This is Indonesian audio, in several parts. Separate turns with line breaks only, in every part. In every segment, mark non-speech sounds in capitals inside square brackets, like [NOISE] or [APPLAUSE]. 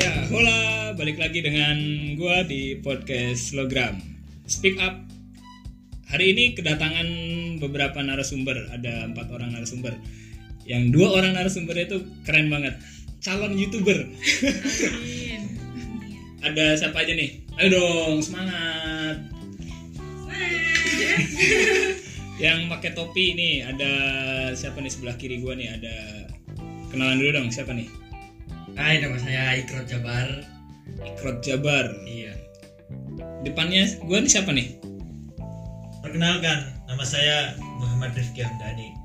Sepak bola, Ya, balik lagi dengan gua di podcast Logram. Speak up. Hari ini kedatangan beberapa narasumber, ada empat orang narasumber. Yang dua orang narasumbernya itu keren banget, calon youtuber. ada siapa aja nih? Ayo dong, semangat. Yang pakai topi nih ada siapa nih sebelah kiri gua nih ada kenalan dulu dong siapa nih?
Hai nama saya Ikrot Jabar
Ikrot Jabar.
Iya
Depannya gua nih siapa nih?
Perkenalkan, nama saya Muhammad Rifki Hamdani.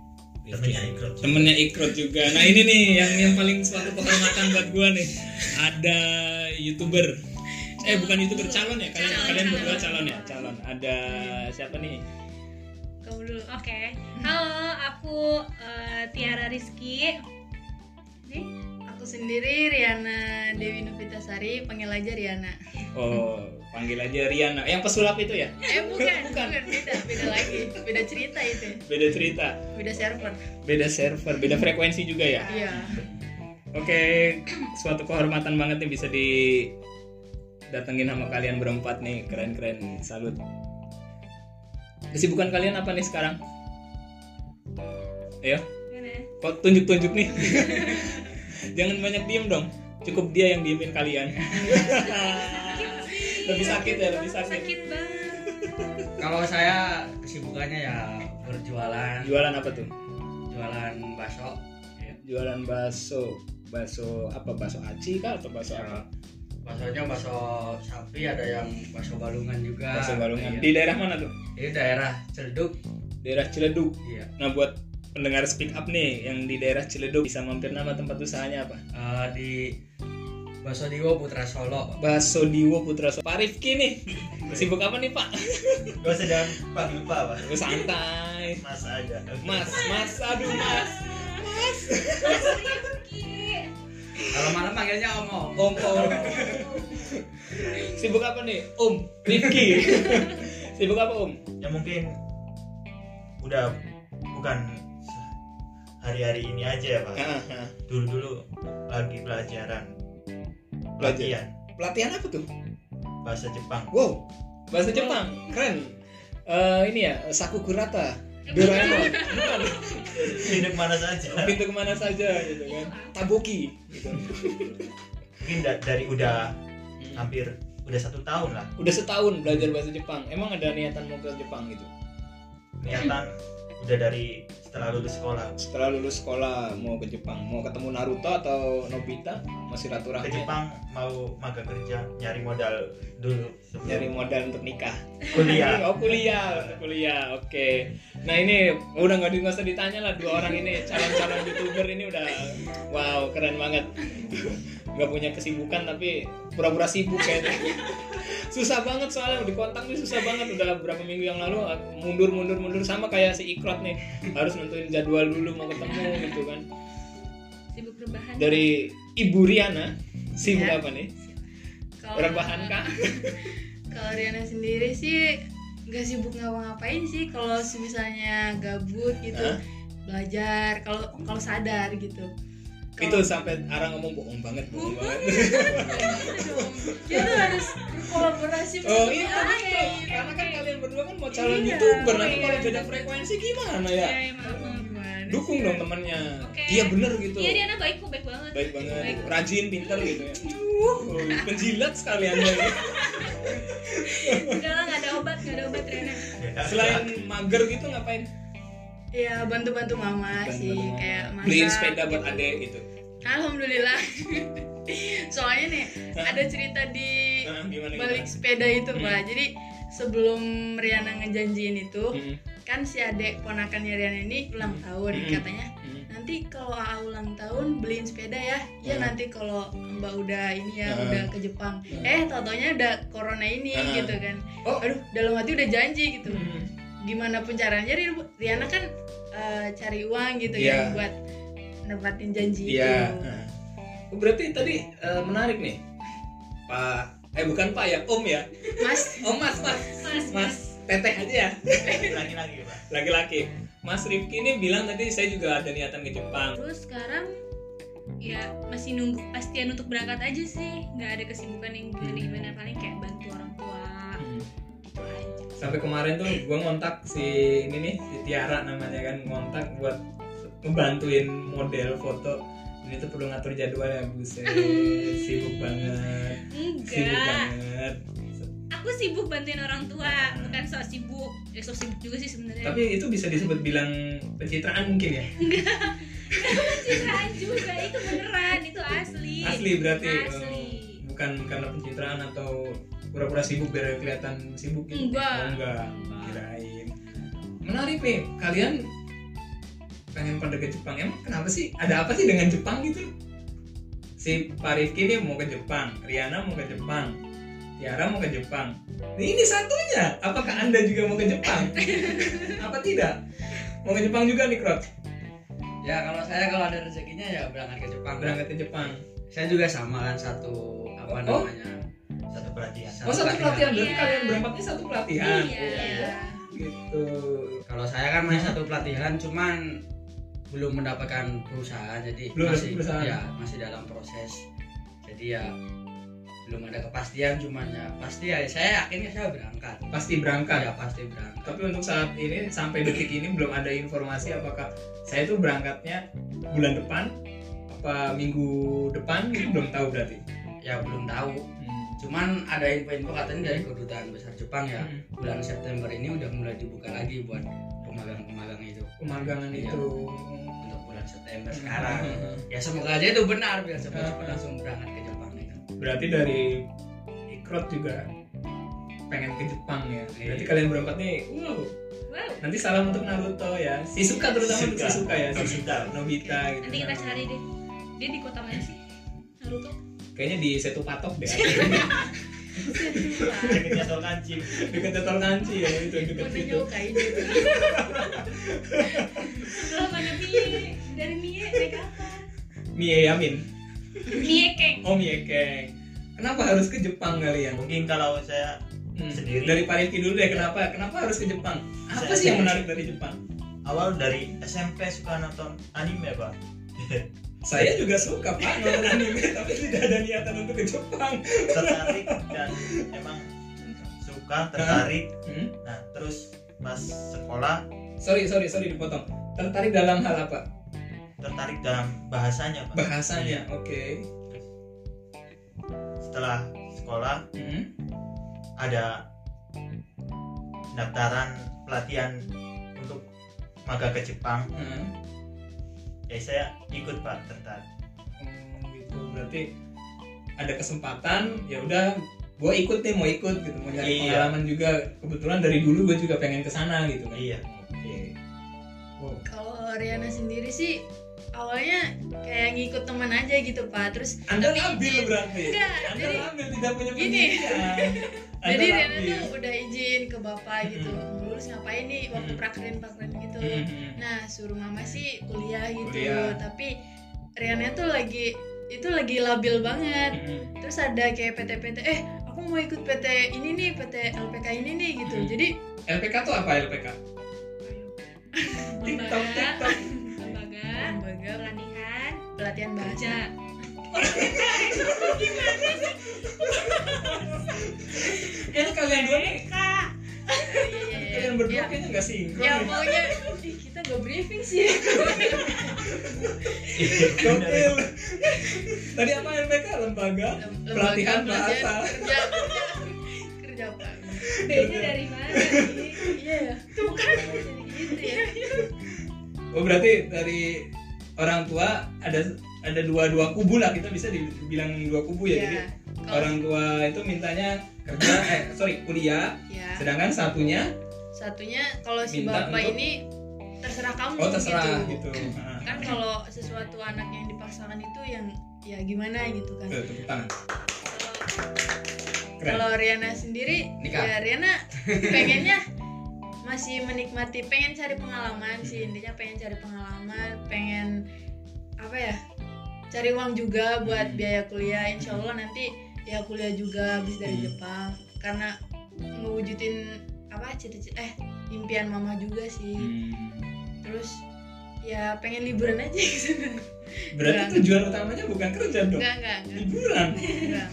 Temennya Ikrot.
temennya Ikrot juga. Nah ini nih yang yang paling suatu kehormatan buat gua nih. Ada youtuber, eh bukan youtuber calon ya kalian
Calon,
kalian
calon.
berdua calon ya calon. Ada siapa nih?
Kamu dulu. Oke. Halo, aku eh, Tiara Rizky. Nih,
Aku sendiri Riana Dewi Novitasari, panggil aja Riana.
Oh panggil aja Riana. Yang pesulap itu ya?
Eh bukan,
Bukan.
bukan, beda, beda lagi, beda cerita itu,
Beda cerita,
beda server.
beda server, beda frekuensi juga ya.
Iya.
Oke, suatu kehormatan banget nih bisa didatengin sama kalian berempat nih, keren-keren, salut. Kesibukan kalian apa nih sekarang? Ayo,
gimana ya?
kok tunjuk-tunjuk nih? [LAUGHS] Jangan banyak diem dong, cukup dia yang diemin kalian. [LAUGHS] lebih sakit ya, lebih sakit.
Sakit banget.
Kalau saya kesibukannya ya berjualan
Jualan apa tuh?
Jualan bakso
Jualan bakso, bakso apa? Bakso aci kah atau bakso apa?
Baksonya bakso sapi ada yang bakso balungan juga
Bakso balungan. Di
Iya.
daerah mana tuh?
Ini daerah Celduk
Daerah Ciledug.
Iya
Nah buat pendengar speak up nih yang di daerah Ciledug bisa mampir nama tempat usahanya apa?
Eh, Di Bakso Diwo Putra Solo
Baso Diwo Putra So. Pak Rifki [LAUGHS] nih sibuk apa nih Pak?
Gue sedang panggil Pak, Pak.
Gue santai.
Mas aja.
Mas, Mas, aduh Mas.
Ki.
Kalau malam manggilnya Om Om
Om, Om. Sibuk apa nih? Om, Rifki. sibuk apa Om?
Ya mungkin udah bukan hari-hari ini aja ya Pak. Dulu-dulu lagi pelajaran. Pelatihan
Pelatihan apa tuh?
bahasa Jepang.
Wow, bahasa Jepang, keren. Eh, ini ya Sakukurata, Doraemon, Bukan.
Hidup mana saja.
pintu kemana saja gitu kan, Taboki, gitu.
Mungkin da- dari udah hampir udah satu tahun lah
udah setahun belajar bahasa Jepang emang ada niatan mau ke Jepang gitu
niatan udah dari setelah lulus sekolah
setelah lulus sekolah mau ke Jepang mau ketemu Naruto atau Nobita masih
ke
silaturahmi
Jepang mau magang kerja nyari modal dulu
nyari
sebelum
modal untuk nikah
kuliah
[LAUGHS] oh kuliah untuk kuliah oke nah ini udah nggak di- nggak usah ditanya lah dua orang ini calon calon youtuber ini udah wow keren banget nggak punya kesibukan tapi pura-pura sibuk kayaknya susah banget soalnya di kontak nih susah banget udah berapa minggu yang lalu ah, mundur mundur mundur sama kayak si Ikrot nih harus nentuin jadwal dulu mau ketemu gitu kan
Sibuk rebahan.
dari Ibu Riana sibuk
Ya.
apa nih
Kalau
rebahan kan? kah
Kalau Riana sendiri sih nggak sibuk ngapa-ngapain sih kalau misalnya gabut gitu
Hah?
belajar kalau kalau sadar gitu
itu sampai orang ngomong bohong banget bohong banget
kita Ya, harus
Oh
berkolaborasi sama
iya
orang
betul.
lain.
Karena kan kalian berdua kan mau calon
Iya.
youtuber nanti
Iya.
kalau beda frekuensi gimana ya?
Ya, maaf, maaf.
Gimana
Dukung
sih?
dong temannya.
Oke.
Iya bener gitu.
Iya, Diana baik kok, baik banget.
Baik banget,
Baik.
rajin, pintar
Iya.
gitu ya. Uh, penjilat sekalian ya.
Enggak lah, nggak ada obat, nggak ada obat Riana.
Selain mager gitu ngapain?
Iya bantu-bantu mama
Bantu
sih
mama.
kayak masak.
Beliin sepeda buat
gitu.
adek gitu. [LAUGHS]
Alhamdulillah. Soalnya nih ada cerita di
Nah, [LAUGHS] gimana
balik
gimana?
sepeda itu
Hmm.
pak. Jadi sebelum Riana ngejanjiin itu
Hmm,
kan si adek ponakannya Riana ini ulang tahun
Hmm.
katanya.
hmm.
Nanti kalau AA ulang tahun beliin sepeda ya. Ya
Hmm.
nanti kalau Mbak udah ini ya
Hmm.
udah ke Jepang.
Hmm.
Eh tau-taunya udah corona ini
Hmm.
gitu kan.
Oh.
Aduh dalam hati udah janji gitu
Hmm.
gimana pun caranya Ri- Riana kan eh, cari uang gitu
Iya.
ya buat nempatin janji
Iya.
itu.
Nah. Oh, Berarti tadi eh, menarik nih. Pak eh bukan Pak ya, Om ya.
Mas,
Om Mas, Mas.
Mas,
Mas, teteh aja ya.
lagi-lagi pak
laki-laki Mas Rifki ini bilang tadi saya juga ada niatan ke Jepang
Terus sekarang ya masih nunggu pastian untuk berangkat aja sih nggak ada kesibukan yang gimana gimana paling kayak bantu orang tua gitu aja
sampai kemarin tuh gue ngontak si ini nih si Tiara namanya kan ngontak buat ngebantuin model foto ini tuh perlu ngatur jadwal ya
[LAUGHS]
buset sibuk banget sibuk
enggak
banget
aku sibuk bantuin orang tua bukan soal sibuk ya sok sibuk juga sih sebenarnya
tapi itu bisa disebut bilang pencitraan mungkin ya
pencitraan juga itu beneran itu asli
asli berarti eh,
Iya, Asli.
bukan karena pencitraan atau pura-pura sibuk biar kelihatan sibuk gitu
Enggak.
Oh, enggak kirain menarik nih kalian pengen pada ke Jepang emang kenapa sih ada apa sih dengan Jepang gitu si Pak Rifki nih mau ke Jepang Riana mau ke Jepang Tiara mau ke Jepang Nah, ini satunya apakah anda juga mau ke [LAUGHS] Jepang apa tidak mau ke Jepang juga nih Krot
ya kalau saya kalau ada rezekinya ya berangkat ke Jepang
berangkat ke Jepang
saya juga sama kan satu apa
Oh.
namanya
satu perhatian
oh satu pelatihan berarti
Iya.
kalian berempatnya satu pelatihan
Iya.
gitu
kalau saya kan masih satu pelatihan cuman belum mendapatkan perusahaan jadi
Belum dapat
masih
perusahaan.
ya masih dalam proses jadi ya belum ada kepastian cuman ya pasti ya saya yakin ya saya berangkat
pasti berangkat
ya pasti berangkat
Tapi untuk saat ini sampai detik ini belum ada informasi apakah saya itu berangkatnya bulan depan apa minggu depan gitu belum tahu berarti.
ya belum tahu Hmm. cuman ada info-info katanya dari kedutaan besar Jepang ya
Hmm.
bulan September ini udah mulai dibuka lagi buat pemagang-pemagang itu
Pemagangan
Iya.
itu
untuk bulan September
Hmm.
sekarang ya semoga aja itu benar biar cepat cepat langsung berangkat ke Jepang gitu.
[LAUGHS] Berarti dari Ikrot juga pengen ke Jepang ya. Berarti
Iya.
kalian berempat nih, wow.
wow
Nanti salam untuk Naruto ya. Shizuka terutama untuk Shizuka
Shizuka.
ya.
Nobita.
Nobita gitu.
nanti kita cari deh dia di kota mana sih Naruto
Kayaknya di Setu Patok deh.
Deketnya tol kancing
Dekat Tol Kanci ya itu dekat
Kode
situ.
nyokai
[LAUGHS]
dia.
sebelah mana Mie dari Mie naik apa
Mie Yamin.
Mie keng
Om Yekeng. Oh, iya, Kenapa harus ke Jepang kalian?
mungkin kalau saya
Hmm.
Sendiri.
Dari Pak Rifki dulu deh, kenapa? Kenapa harus ke Jepang? Apa
Saya-
sih yang menarik dari Jepang?
awal dari SMP suka nonton anime pak
Saya juga suka Pak nonton anime, [LAUGHS] tapi tidak ada niatan untuk ke Jepang.
tertarik dan emang suka tertarik
Hmm?
nah terus pas sekolah
Sorry, sorry, sorry dipotong. Tertarik dalam hal apa?
tertarik dalam bahasanya pak
Bahasanya,
Hmm.
oke.
setelah sekolah
Hmm?
ada pendaftaran pelatihan untuk maga ke Jepang
hmm.
ya saya ikut pak tertarik
Oh, gitu. Berarti ada kesempatan, ya udah gue ikut deh mau ikut gitu mau nyari
Iya.
pengalaman juga kebetulan dari dulu gue juga pengen ke sana gitu kan
Iya.
oke Wow.
Kalau Riana sendiri sih awalnya kayak ngikut teman aja gitu pak. Terus
anda labil berarti
enggak.
Anda
Jadi
ngambil tidak punya
gini.
pendidikan. Anda
[LAUGHS] jadi Riana
ngambil.
tuh udah izin ke bapak gitu.
Hmm.
Lulus ngapain nih waktu
Mm.
prakerin prakerin gitu.
Mhm.
Nah suruh mama sih kuliah gitu.
Kuliah.
Tapi Riana tuh lagi itu lagi labil banget.
Mhm.
terus ada kayak PT-PT eh aku mau ikut PT ini nih PT LPK ini nih gitu
Hmm.
jadi
LPK tuh apa LPK? TikTok
lembaga
TikTok.
lembaga
"Ah, lembaga
pelatihan
pelatihan bahasa
kerja
Kayaknya kalian Eh, dua nih, kalian
Iya, iya, iya.
Kan berdua kayaknya nggak sinkron.
ya
nih.
pokoknya ih, kita gak briefing sih
Gokil. [LAUGHS] Tadi apa LPK lembaga?
Lembaga
Pelatihan bahasa.
kerja kerja kerja apa
B-nya dari mana sih?
iya ya tuh kan jadi gitu ya
Oh berarti dari orang tua ada ada dua dua kubu lah kita bisa dibilang dua kubu ya.
Iya.
Jadi
Kalau-
orang tua itu mintanya
[COUGHS]
kerja eh sorry kuliah,
ya
sedangkan satunya
satunya kalau si
Minta
bapak
untuk-
ini terserah kamu
oh terserah
gitu.
gitu. Nah,
kan kalau sesuatu anak yang dipaksakan itu yang ya gimana gitu kan
tuh, tepuk tangan.
Kalau-
Keren.
Kalau Riana sendiri,
Nikah.
ya Riana pengennya masih menikmati, pengen cari pengalaman sih
Hmm.
intinya pengen cari pengalaman, pengen apa ya? Cari uang juga buat
Hmm.
biaya kuliah. Insya Allah nanti ya kuliah juga habis dari
Hmm.
Jepang karena ngewujudin apa cita-cita eh impian mama juga sih.
Hmm. [LAUGHS]
Terus ya pengen liburan aja gitu.
Berarti
Enggak.
tujuan utamanya bukan kerja dong.
enggak enggak enggak
Liburan.
enggak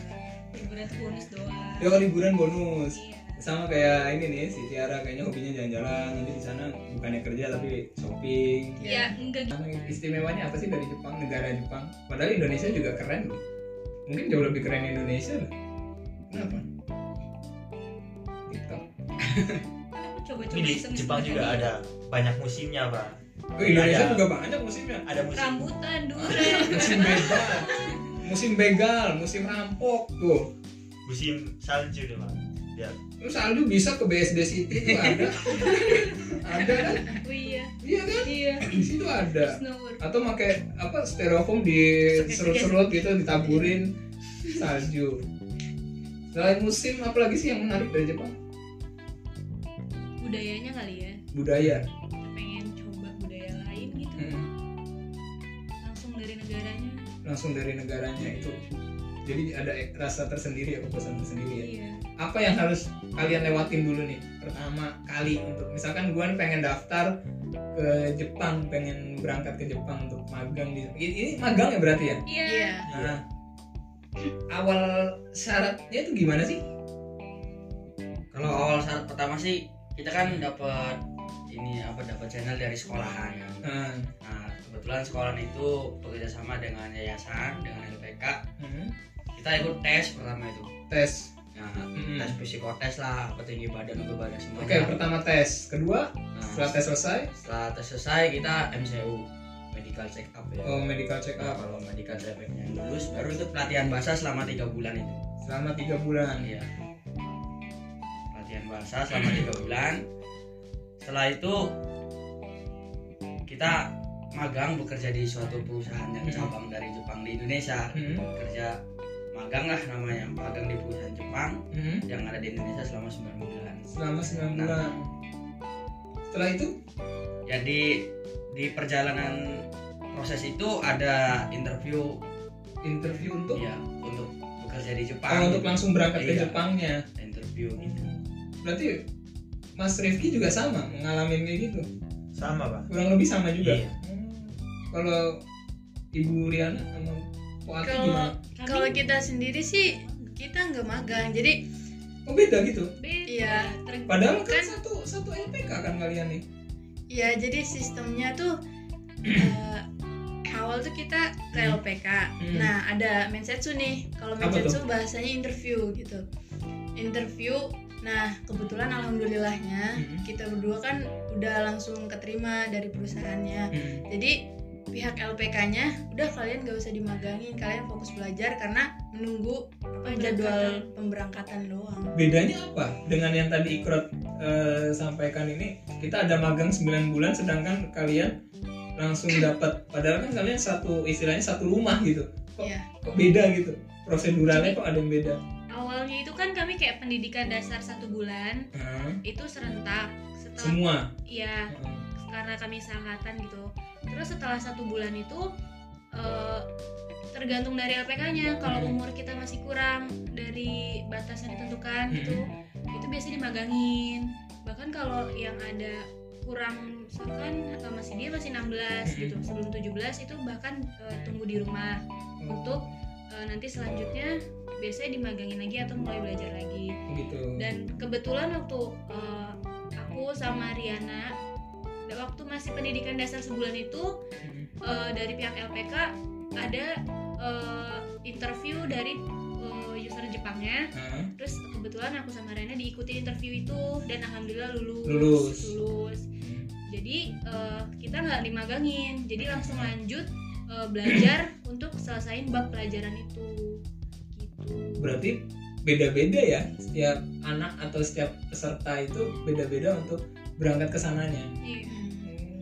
liburan tuh bonus doang
Ya liburan bonus.
iya
Sama kayak ini nih si Tiara kayaknya hobinya jalan-jalan nanti di sana bukannya kerja tapi shopping.
ya enggak gitu
Nah, Istimewanya apa sih dari Jepang, negara Jepang? Padahal Indonesia juga keren loh. Mungkin jauh lebih keren Indonesia loh. Kenapa? TikTok.
kan aku coba-coba
Ini di
iseng-iseng
Jepang juga
aja.
ada banyak musimnya, Pak.
Oh, Indonesia
Ada.
juga banyak musimnya.
Ada musim
rambutan durian
Musim begal, musim begal, musim rampok tuh.
musim salju deh, Pak. Ya,
Terus Aldo bisa ke BSD City tuh [LAUGHS] ada. ada kan?
oh iya
Iya kan?
iya
Di situ ada.
snowboard
Atau pakai apa styrofoam diserut-serut gitu ditaburin salju. Selain musim apalagi sih yang menarik dari Jepang?
budayanya kali ya
Budaya.
pengen coba budaya lain gitu
Mm,
langsung dari negaranya
langsung dari negaranya itu jadi ada rasa tersendiri ya kepuasan tersendiri ya
iya
apa yang harus kalian lewatin dulu nih pertama kali untuk misalkan gue nih pengen daftar ke Jepang pengen berangkat ke Jepang untuk magang di ini ini magang ya berarti ya
iya
iya
nah, awal syaratnya itu gimana sih
Kalau awal syarat pertama sih kita kan dapat ini apa dapat channel dari sekolahan kan.
nah,
Nah, kebetulan sekolahan itu bekerja sama dengan yayasan, dengan LPK.
hmm,
Kita ikut tes pertama itu.
tes
Nah,
Hmm.
tes psikotes lah, apa tinggi badan apa badan
oke
semuanya.
pertama tes kedua
Nah,
setelah tes selesai
setelah tes selesai kita MCU, medical check up ya.
oh, medical check
Nah,
up
kalau medical check up yang lulus baru itu pelatihan bahasa selama tiga bulan itu.
selama tiga bulan
Iya. Latihan bahasa selama tiga bulan. Setelah itu kita magang bekerja di suatu perusahaan yang
Hmm.
cabang dari Jepang di Indonesia.
Hmm,
Kerja magang lah namanya, magang di perusahaan Jepang
hmm.
yang ada di Indonesia selama 9 bulan.
selama 9
Nah.
bulan setelah itu
Jadi di perjalanan proses itu ada interview
interview untuk
ya untuk bekerja di Jepang.
Kalau untuk langsung berangkat ke
Iya.
Jepangnya
interview gitu.
berarti Mas Rifki juga sama mengalami kayak gitu
sama, Pak.
kurang lebih sama juga Hmm.
Iya.
kalau Ibu Riana sama Poati gimana?
kalau kalau kita sendiri sih kita nggak magang jadi
Oh beda gitu.
beda
Iya.
Ter-
Padahal kan
Kan-
satu satu LPK kan kalian nih.
ya jadi sistemnya tuh eh, awal tuh kita ke
Hmm.
LPK nah ada mensetsu nih kalau
Apa tuh?
mensetsu bahasanya interview gitu interview nah kebetulan alhamdulillahnya
Hmm.
Mm-hmm.
kita berdua kan udah langsung keterima dari perusahaannya
Hmm.
jadi pihak LPK-nya udah kalian gak usah dimagangin kalian fokus belajar karena menunggu apa, jadwal pemberangkatan doang
Bedanya apa dengan yang tadi Ikrot eh, sampaikan ini? Kita ada magang 9 bulan sedangkan kalian langsung dapat padahal kan kalian satu istilahnya satu rumah gitu. Kok,
Iya.
kok beda gitu? Proseduralnya kok ada yang beda?
awalnya itu kan kami kayak pendidikan dasar satu bulan itu serentak setelah
Semua.
ya karena kami seangkatan gitu terus setelah satu bulan itu eh, tergantung dari LPK-nya kalau
Hmm.
umur kita masih kurang dari batas yang ditentukan
Hmm.
gitu itu biasanya dimagangin bahkan kalau yang ada kurang misalkan eh, masih dia masih 16
Hmm.
gitu sebelum 17 itu bahkan eh, tunggu di rumah untuk eh, nanti selanjutnya biasanya dimagangin lagi atau mulai belajar lagi
gitu.
dan kebetulan waktu eh, aku sama Riana dan waktu masih pendidikan dasar sebulan itu eh, dari pihak LPK ada eh, interview dari eh, user Jepangnya
Nah,
terus kebetulan aku sama Riana diikuti interview itu dan alhamdulillah lulus
Lulus.
lulus. jadi eh, kita nggak dimagangin jadi langsung lanjut eh, belajar untuk selesain bab pelajaran itu gitu
berarti beda-beda ya setiap anak atau setiap peserta itu beda-beda untuk berangkat ke sananya.
Iya.
Hmm.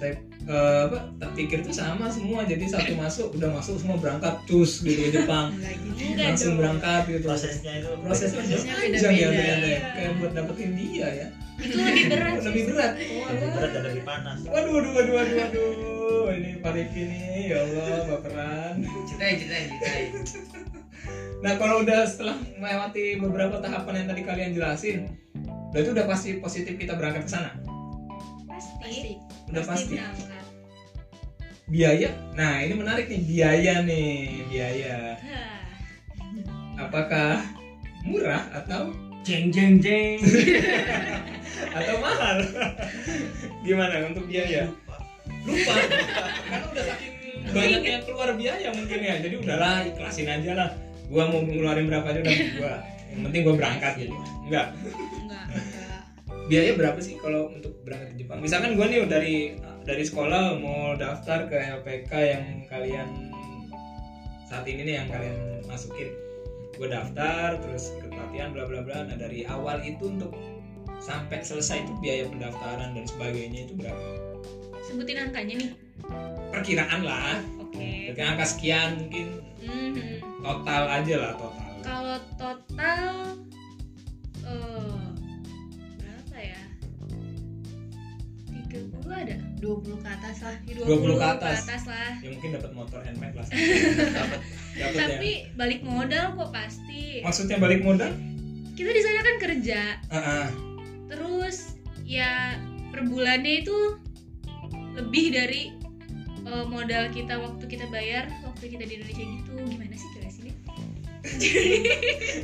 Saya eh, apa tak pikir tuh sama semua jadi satu masuk udah masuk semua berangkat cus gitu ke Jepang
enggak gitu
Enggak
langsung
dong.
berangkat gitu
Prosesnya itu
prosesnya
Prosesnya
panjang ya
beda-beda.
ternyata ya. kayak buat dapetin dia ya
itu lebih berat
lebih berat
lebih berat dan lebih panas.
waduh waduh waduh waduh waduh ini Pak Rifki nih ya Allah baperan
Ceritain, ceritain, ceritain.
Nah kalau udah setelah melewati beberapa tahapan yang tadi kalian jelasin, udah itu udah pasti positif kita berangkat ke sana.
pasti
pasti
Udah pasti.
berangkat
biaya nah ini menarik nih biaya nih biaya
Hah.
apakah murah atau
jeng jeng jeng
atau mahal [LAUGHS] gimana untuk ya? biaya lupa karena udah saking banyaknya keluar biaya mungkin ya jadi udahlah ikhlasin aja lah gua mau ngeluarin berapa aja udah gua yang penting gua berangkat gitu enggak
enggak enggak
biaya berapa sih kalau untuk berangkat ke Jepang misalkan gua nih dari dari sekolah mau daftar ke LPK yang kalian saat ini nih yang kalian masukin gua daftar terus ikut pelatihan bla bla bla nah dari awal itu untuk sampai selesai itu biaya pendaftaran dan sebagainya itu berapa
sebutin angkanya nih
perkiraan lah
oke
Berarti angka sekian mungkin
Mhm.
total aja lah total.
kalau total eh berapa ya tiga puluh ada
20 ke atas lah Iya,
20 ke atas.
lah
Ya mungkin dapat motor handmade lah. [LAUGHS] dapat ya.
tapi balik modal kok pasti
Maksudnya balik modal? Ah,
kita di sana kan kerja
Heeh.
terus ya per bulannya itu lebih dari eh, modal kita waktu kita bayar waktu kita di Indonesia gitu gimana sih jelasinnya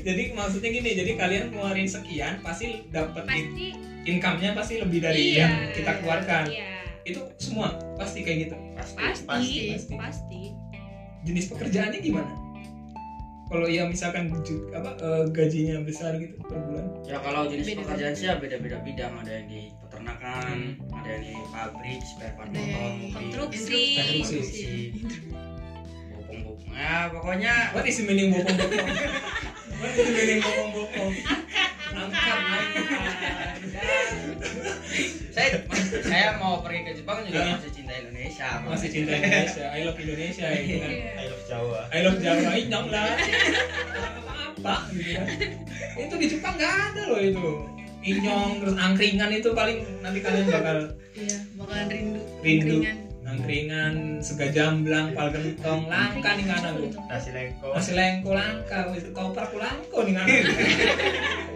Jadi maksudnya gini, jadi kalian keluarin sekian pasti dapat in-
pasti
income-nya pasti lebih dari
Iya.
yang kita keluarkan.
ya
Itu semua pasti kayak gitu.
pasti
pasti,
pasti,
pasti. Jenis pekerjaannya gimana? Kalau ya misalkan ju- apa eh, gajinya besar gitu per bulan.
[LAUGHS] ya kalau jenis
Beda-beda.
pekerjaan sih ya beda beda bidang ada yang di peternakan ada yang di pabrik spare part
Ada yang
motor mobil,
konstruksi.
Iya,
Konstruksi.
bopong bopong ya
[LAUGHS]
pokoknya
What is the meaning [LAUGHS] bopong-bopong? What is the meaning bopong-bopong? Angkat, angkat.
saya saya mau pergi ke Jepang
Hah?
juga masih cinta Indonesia
masih cinta Indonesia I love Indonesia gitu kan
Iya.
I love Jawa
I love Jawa Ih, nyong lah apa gitu kan itu di Jepang nggak ada loh itu inyong terus angkringan itu paling nanti kalian bakal
iya bakalan rindu
Rindu.
Keringan.
angkringan sega jamblang pal gentong langka nih kana lu
nasi lengko
masih lengko langka wis koper ku langko nih kana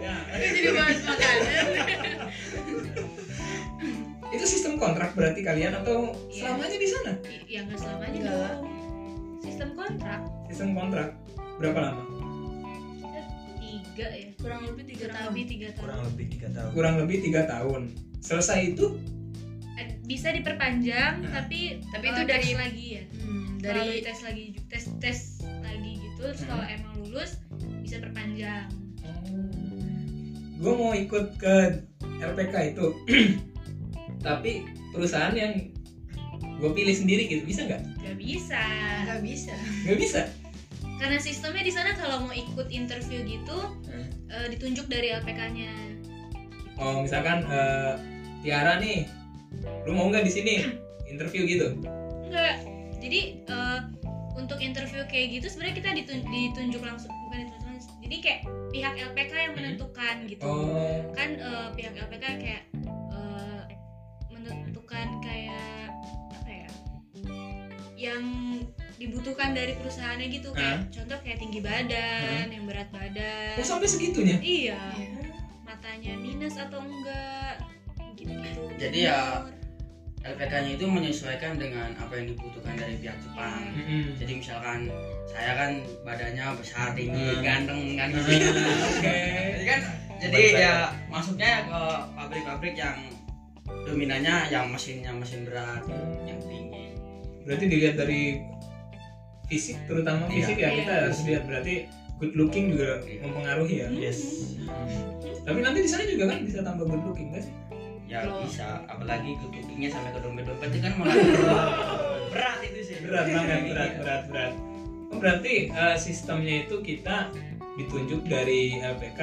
ya
Ini [LAUGHS] jadi bahas makanan
itu sistem kontrak berarti kalian atau selamanya di sana
I- ya nggak selamanya
Nggak.
dong sistem kontrak
sistem kontrak berapa lama
tiga ya
kurang lebih tiga
kurang
tahun
lebih
kurang lebih
tiga tahun
tiga tahun
kurang lebih tiga tahun selesai itu
Ad- Eh, bisa diperpanjang
Nah.
tapi
Tapi
eh,
itu
tes
dari-
lagi ya
Hmm,
dari
dari
tes lagi ju- tes tes lagi gitu terus
Hmm.
kalau emang lulus bisa perpanjang
gue Hmm. mau ikut ke LPK itu [CLEARS THROAT] tapi perusahaan yang gue pilih sendiri gitu bisa nggak
nggak bisa
nggak bisa
nggak bisa
karena sistemnya di sana kalau mau ikut interview gitu eh, ditunjuk dari LPK-nya
oh misalkan eh, Tiara nih lu mau nggak di sini interview gitu
enggak jadi eh, untuk interview kayak gitu sebenarnya kita ditun- ditunjuk langsung bukan ditunjuk langsung jadi kayak pihak LPK yang
Hmm.
menentukan gitu
oh
kan eh, pihak LPK kayak eh, menentukan kayak apa ya yang dibutuhkan dari perusahaannya gitu
Hmm.
kayak contoh kayak tinggi badan yang berat badan
kok oh, sampai segitunya
iya
Iya.
Hmm.
matanya minus atau enggak gitu gitu
Jadi ya, LPK-nya itu menyesuaikan dengan apa yang dibutuhkan dari pihak Jepang.
Mm-mm.
Jadi misalkan saya kan badannya besar,
Hmm.
tinggi, ganteng kan.
Ah,
gitu.
oke
Jadi kan jadi
Baik-baik.
ya masuknya ke pabrik-pabrik yang dominannya yang mesinnya mesin berat, yang tinggi.
berarti dilihat dari fisik terutama
Iya.
fisik ya
Iya.
kita harus lihat berarti good looking juga
Iya.
mempengaruhi ya
yes
tapi nanti di sana juga kan bisa tambah good looking nggak sih
Ya
Loh.
bisa, apalagi tutupnya sampai ke dompet-dompet
[LAUGHS]
itu kan malah berat itu sih.
berat banget berat berat berat oh, berarti eh, sistemnya itu kita ditunjuk dari LPK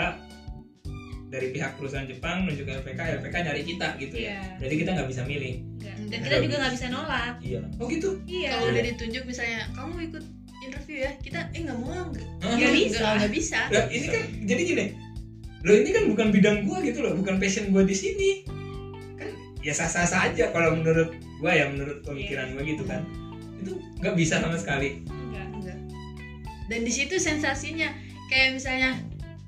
dari pihak perusahaan Jepang nunjuk LPK LPK nyari kita gitu ya
Iya.
berarti kita nggak bisa milih
enggak.
Hmm,
Iya. dan
dan
kita juga nggak bisa nolak
iya oh gitu
iya
kalau udah ditunjuk misalnya kamu ikut interview ya kita eh nggak mau nggak
Hah?
Nggak bisa.
nggak- nggak bisa
Lah, ini kan jadi gini lo ini kan bukan bidang gua gitu loh bukan passion gua di sini kan ya sah sah saja kalau menurut gua ya menurut pemikiran gua gitu kan itu nggak bisa sama sekali
enggak
Enggak. dan di situ sensasinya kayak misalnya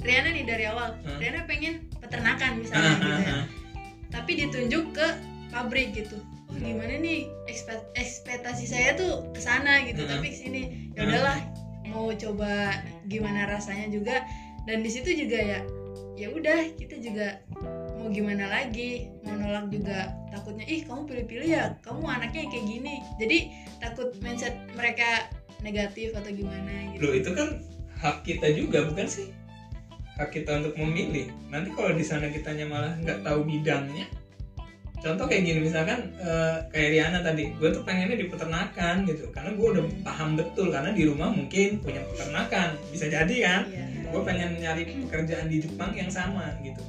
Riana nih dari awal
Hmm.
Riana pengen peternakan
[LAUGHS]
misalnya
Ah,
gitu
ah,
ya.
ah.
tapi ditunjuk ke pabrik gitu oh
Hmm.
wah gimana nih ekspe- ekspektasi saya tuh ke sana gitu
Hmm.
tapi kesini ya udahlah mau coba gimana rasanya juga dan di situ juga ya ya udah kita juga mau gimana lagi mau nolak juga takutnya ih kamu pilih-pilih ya kamu anaknya kayak gini jadi takut mindset mereka negatif atau gimana gitu
Loh itu kan hak kita juga bukan sih? Hak kita untuk memilih. Nanti kalau di sana kitanya malah nggak tahu bidangnya. Contoh kayak gini misalkan eh, kayak Riana tadi, gue tuh pengennya di peternakan gitu, karena gue udah paham betul karena di rumah mungkin punya peternakan, bisa jadi kan?
Iya.
Gue pengen nyari pekerjaan di Jepang yang sama gitu.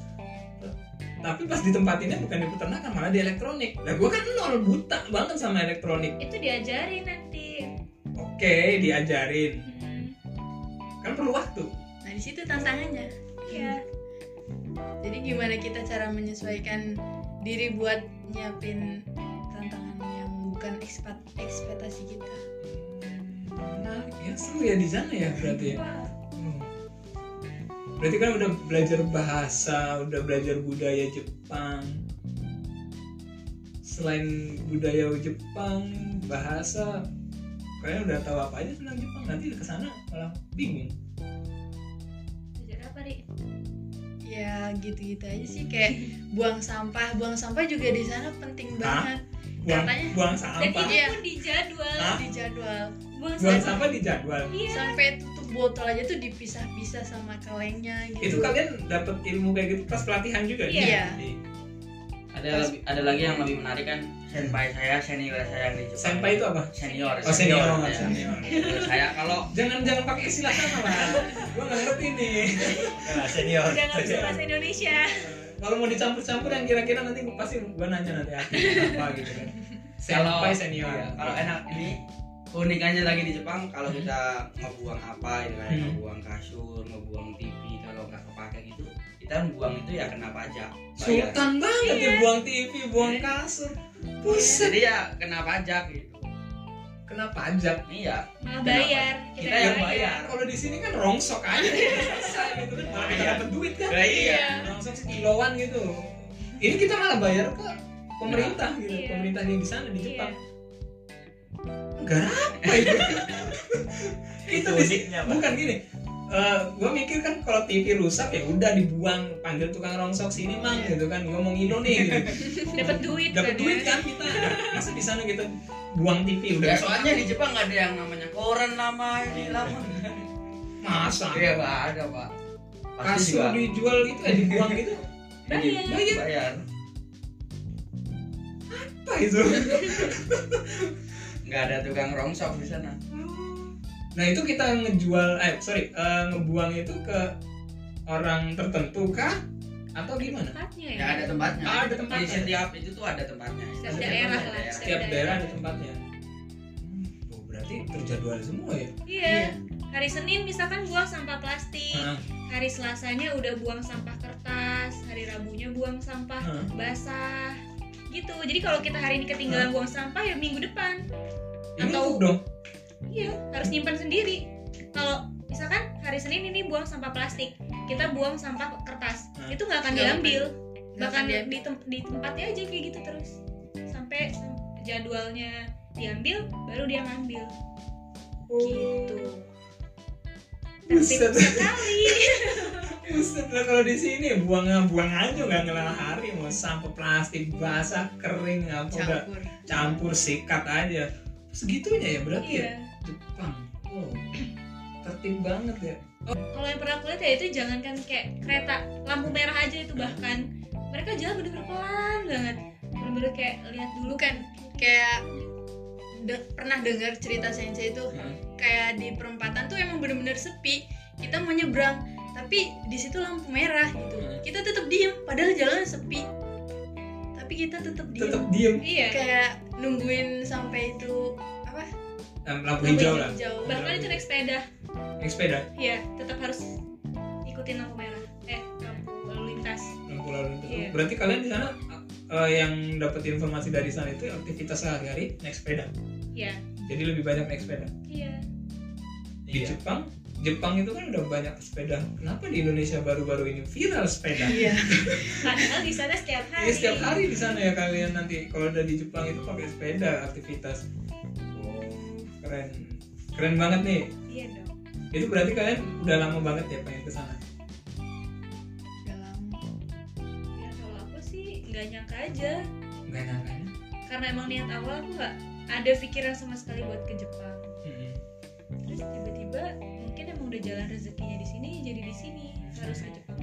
Tapi pas ditempatinnya bukan di peternakan malah di elektronik. Lah gue kan nol buta banget sama elektronik.
itu diajarin nanti
Oke diajarin,
Hmm,
kan perlu waktu.
nah di situ tantangannya
iya
Jadi gimana kita cara menyesuaikan diri buat nyiapin tantangan yang bukan ekspat- ekspektasi kita?
Menarik ya, seru ya di sana ya berarti ya.
Wah,
Hmm. Berarti kan udah belajar bahasa, udah belajar budaya Jepang. Selain budaya Jepang, bahasa, kalian udah tahu apa aja tentang Jepang. Nanti ke sana malah bingung.
belajar apa nih
Ya gitu-gitu aja sih kayak buang sampah, buang sampah juga di sana penting
Hah?
banget.
Buang,
Katanya-
buang
dan
sampah.
itu
Iya.
pun dijadwal
Hah?
Di jadwal
buang
Buang
sampah.
sampah di jadwal.
iya
sampai tutup botol aja tuh dipisah-pisah sama kalengnya
Itu kan
gitu.
kalian dapat ilmu kayak gitu pas pelatihan juga.
Iya.
Iya.
ada lebih- ada lagi yang lebih menarik kan senpai saya senior saya yang di Jepang
Sampai itu apa?
senior
Hmm.
ya.
Oh senior,
saya.
senior.
Senior saya kalau
Jangan jangan pakai istilah sama lah. Gua nggak ngerti nih.
Nah, senior.
udah nggak bisa bahasa Indonesia
kalau mau dicampur-campur yang kira-kira nanti pasti gua nanya nanti aku apa gitu kan
kalau
senpai senior ya?
iya, kalau enak ini unik aja lagi di Jepang kalau kita ngebuang apa gitu kan
Hmm.
ngebuang kasur ngebuang TV kalau nggak kepake gitu kita buang itu ya kenapa aja bayar
sultan banget
Iya.
ya buang TV buang
Iya.
kasur buset
jadi ya kenapa aja gitu
kena pajak
iya
malah bayar Iya. kita,
kita yang bayar
Eh, kalau di sini kan rongsok aja selesai gitu kan malah kita dapat duit kan
Iya. Lah, iya
rongsok sekiloan gitu ini kita malah bayar ke pemerintah gitu
Iya.
pemerintah yang di sana di
Iya.
Jepang negara apa itu kita
Itu
di
uniknya, Pak.
bukan gini Eh gue mikir kan kalau TV rusak ya udah dibuang panggil tukang rongsok sini mang gitu kan gue mau ngilu nih gitu
dapat duit
dapat
kan,
duit
ya.
kan kita masa di sana kita buang TV
ya
udah
soalnya di Jepang nggak ada yang namanya koran lama ini lama
masa
iya nggak ada pak pasti
kasur
juga
dijual gitu ya dibuang gitu
Bayar.
bayar
bayar
apa itu
nggak ada tukang rongsok di sana
nah itu kita ngejual eh sorry eh, ngebuang itu ke orang tertentu kah atau gimana
Tempatnya ya
ya ada tempatnya
Ah, ada
di
tempatnya.
setiap itu tuh ada tempatnya
Setiap
Ada
daerah
tempatnya,
lah,
daerah.
setiap-
setiap daerah ada tempatnya Hmm, oh, berarti terjadwal semua ya
iya hari Senin misalkan buang sampah plastik
Hah?
hari Selasanya udah buang sampah kertas hari Rabunya buang sampah
Hah?
basah gitu jadi kalau kita hari ini ketinggalan buang sampah ya minggu depan
ini empuk
Atau-
dong
iya harus nyimpan sendiri kalau misalkan hari Senin ini buang sampah plastik kita buang sampah kertas
Hah.
itu nggak akan
Nggak
diambil
Nggak
bahkan
akan
di, tem- di tempatnya aja kayak gitu terus sampai jadwalnya diambil baru dia ngambil gitu tertib
Buset.
sekali
Buset lah kalau di sini buang buang aja nggak ngelah hari mau sampah plastik basah kering apa udah
Campur.
campur sikat aja segitunya ya berarti ya?
iya
Jepang wow tertib banget ya
kalau yang pernah aku lihat ya itu jangankan kayak kereta lampu merah aja itu bahkan mereka jalan bener-bener pelan banget bener-bener kayak lihat dulu kan.
Bukan kayak de- pernah dengar cerita sensei itu
Hmm.
kayak di perempatan tuh emang bener-bener sepi kita mau nyebrang tapi di situ lampu merah gitu
Hmm.
kita tetap diem padahal jalan sepi tapi kita tetap diem
tetap diem
iya
kayak nungguin sampai itu apa
Em, lampu hijau lah
jauh
bahkan itu naik sepeda
naik sepeda
ya tetap harus ikutin lampu merah eh lampu lalu lintas
lampu lalu lintas
Iya.
berarti kalian di sana eh, yang dapat informasi dari sana itu aktivitas sehari-hari naik sepeda
ya
jadi lebih banyak naik sepeda
iya
di
Iya.
Jepang Jepang itu kan udah banyak sepeda. Kenapa di Indonesia baru-baru ini viral sepeda?
iya
Padahal di sana setiap hari.
Ya, setiap hari di sana ya kalian nanti kalau udah di Jepang itu pakai sepeda aktivitas. Wow, keren. Keren banget nih.
Iya dong.
Itu berarti kalian udah lama banget ya pengen ke sana.
dalam
Ya kalau aku sih nggak nyangka aja.
Enggak nyangka ya.
Karena emang niat awal aku nggak ada pikiran sama sekali buat ke Jepang.
Mm-mm.
Terus tiba-tiba mungkin emang udah jalan rezekinya di sini jadi di sini harus ke Jepang.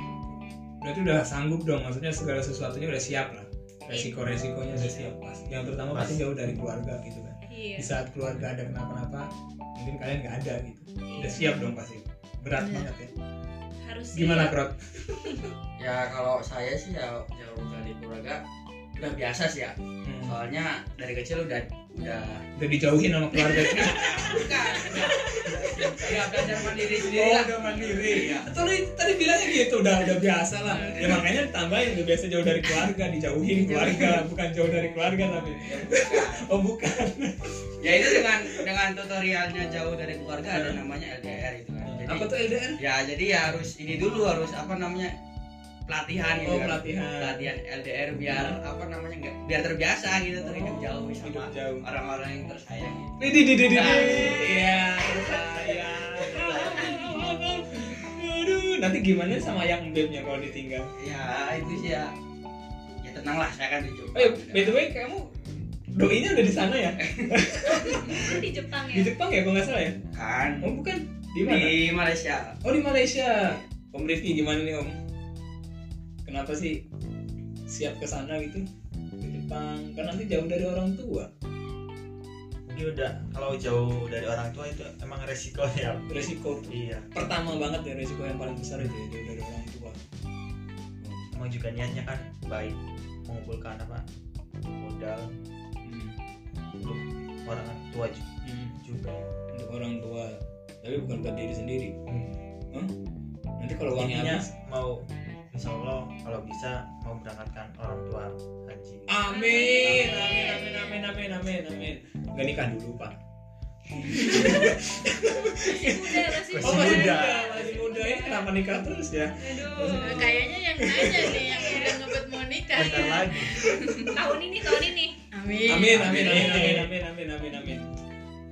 Berarti udah sanggup dong. Maksudnya segala sesuatunya udah siap lah. Resiko-resikonya udah siap pas. Yang terutama
Pas.
pasti jauh dari keluarga gitu kan.
Iya.
Di saat keluarga ada kenapa-napa, mungkin kalian nggak ada gitu.
iya.
Udah siap dong pasti. Berat
Iya.
banget ya.
Harus
Gimana
siap.
Krot?
ya kalau saya sih ya jauh dari keluarga udah biasa sih ya
Hmm.
soalnya dari kecil udah udah
Udah dijauhin sama keluarga itu.
bukan ya belajar mandiri sendiri
Oh,
lah
udah mandiri.
Iya.
Tadi tadi bilangnya gitu, udah udah biasa lah. Ya makanya ditambahin udah biasa jauh dari keluarga, dijauhin keluarga, bukan jauh dari keluarga tapi. [LAUGHS]
Ya, bukan.
Oh, bukan.
ya itu dengan dengan tutorialnya jauh dari keluarga ada namanya LDR itu kan jadi
Apa tuh LDR?
ya jadi ya harus ini dulu harus apa namanya pelatihan gitu
Oh,
kan.
pelatihan.
pelatihan Hmm. LDR biar apa namanya nggak biar terbiasa gitu terhidup jauh sama
Hidup jauh.
orang-orang yang tersayang gitu.
Di di di di.
Nah.
Iya, saya. Aduh, nanti gimana sama yang bebnya kalau ditinggal?
ya itu sih ya ya tenang lah saya akan tunjuk
Eh, by the way, kamu doinya udah di sana ya?
Itu di Jepang
Di
ya.
Jepang ya kalau nggak salah ya?
kan
Oh, bukan. Di mana?
di Malaysia
Oh di Malaysia. Om Rifki gimana nih Om? Kenapa sih siap ke sana gitu? Ke Jepang kan nanti jauh dari orang tua.
mungkin udah kalau jauh dari orang tua itu emang resikonya
Resiko
iya
pertama banget ya resiko yang paling besar itu ya jauh dari orang tua.
emang juga niatnya kan baik mengumpulkan apa modal untuk orang tua ju-
Hmm.
juga
Untuk orang tua, tapi bukan buat diri sendiri.
hmm.
Hah? Nanti kalau uangnya
intinya
habis,
mau insya Allah kalau bisa mau berangkatkan orang tua haji
Amin, amin, amin, amin, amin, amin, amin. Gak nikah dulu pak.
Masih muda, masih
Masih
Oh
muda.
masih
Iya.
muda,
muda.
masih muda ya. Kenapa nikah terus ya?
Aduh.
kayaknya yang nanya nih yang udah ngebet mau nikah
bentar lagi
Tahun ini, tahun ini.
amin
Amin amin amin amin amin amin amin amin.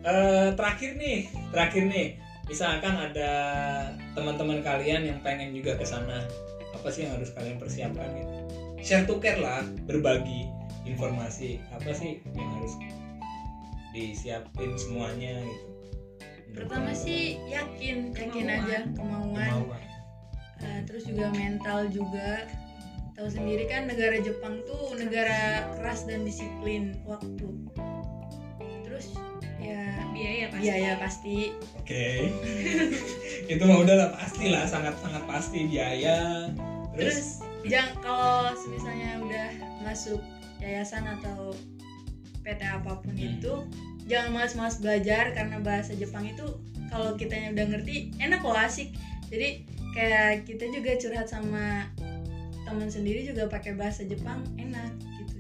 Eh, terakhir nih, terakhir nih, misalkan ada teman-teman kalian yang pengen juga ke sana, apa sih yang harus kalian persiapkan gitu? Share to care lah, berbagi informasi. Apa sih yang harus disiapin semuanya gitu?
pertama sih yakin yakin
Kemauan.
aja kemauan
kemauan
Eh, terus juga mental juga tahu sendiri kan negara Jepang tuh negara keras dan disiplin waktu terus ya
Biaya Iya, pasti.
biaya pasti
Oke. [LAUGHS] Itu mah udah lah pasti lah, sangat-sangat pasti biaya. Terus,
terus jangan kalau misalnya udah masuk yayasan atau PT apapun
Hmm.
itu jangan malas-malas belajar karena bahasa Jepang itu kalau kitanya udah ngerti enak loh asik jadi kayak kita juga curhat sama teman sendiri juga pakai bahasa Jepang enak gitu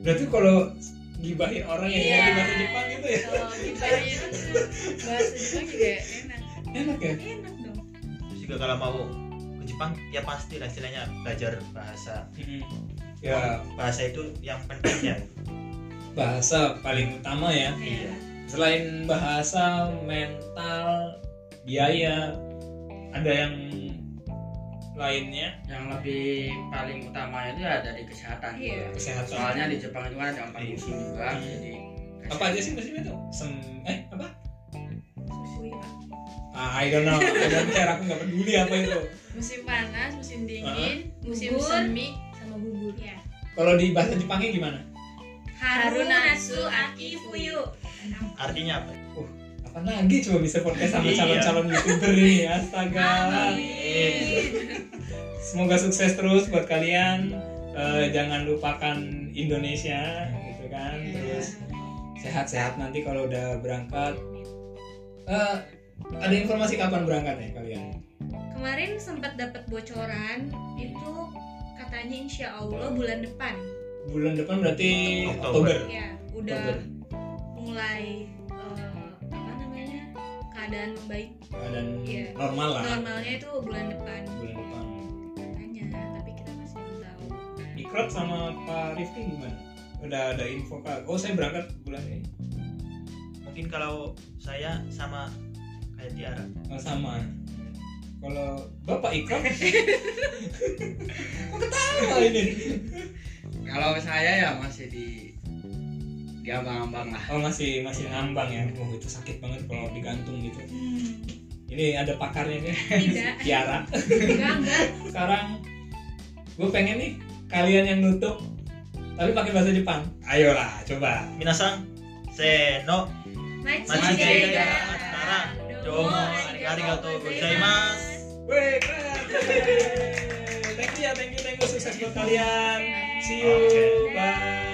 berarti kalau gibahin orang yang
Iya.
ngerti bahasa Jepang gitu ya
kalau dibayin bahasa Jepang [LAUGHS] juga enak
enak ya?
Enak dong.
terus juga kalau mau ke Jepang ya pasti lah istilahnya belajar bahasa
Ya,
bahasa itu yang penting ya
bahasa paling utama ya
Iya.
selain bahasa mental biaya ada yang lainnya
yang lebih paling utama itu ya dari kesehatan
Iya.
juga.
kesehatan
soalnya di Jepang itu kan ada empat musim juga
Iya.
jadi
apa aja sih musim itu sem eh apa
Susu ya.
ah, I don't know I don't care aku nggak peduli apa itu
musim panas musim dingin musim
Gugur.
semi sama gugur
Iya.
kalau di bahasa Jepangnya gimana
Haru Natsu
Natsu
Aki Fuyu.
artinya apa
apa lagi coba bisa podcast sama
Iya.
calon-calon youtuber ini astaga
Amin.
semoga sukses terus buat kalian Eh, jangan lupakan Indonesia gitu kan terus sehat-sehat nanti kalau udah berangkat. Eh, ada informasi kapan berangkat ya kalian?
Kemarin sempat dapat bocoran itu katanya insya Allah bulan depan.
Bulan depan berarti
Oktober.
Oktober.
Ya, udah mulai eh, apa namanya? Kayak keadaan baik
keadaan
Iya.
normal lah
normalnya itu bulan depan
bulan depan
hanya tapi kita masih belum tahu
Ikrat sama Pak Rifki gimana? Udah ada info kak? Oh saya berangkat bulan ini
mungkin kalau saya sama kayak Tiara
Oh, sama. Kalau Bapak Ikram Kok ketawa ini?
Kalau saya ya masih di di abang-abang lah.
Oh masih masih ngambang ya. Oh itu sakit banget kalau digantung gitu. Ini ada pakarnya nih,
tidak
Tiara.
enggak enggak
Sekarang gue pengen nih kalian yang nutup tapi pakai bahasa Jepang. Ayolah, coba.
minasang seno
Machi
Machi
Gaida
gaida atara. domo arigatou gozaimasu
Weh, keren. Thank you ya, thank you, thank you. Sukses buat kalian. See you.
Oke.
Bye.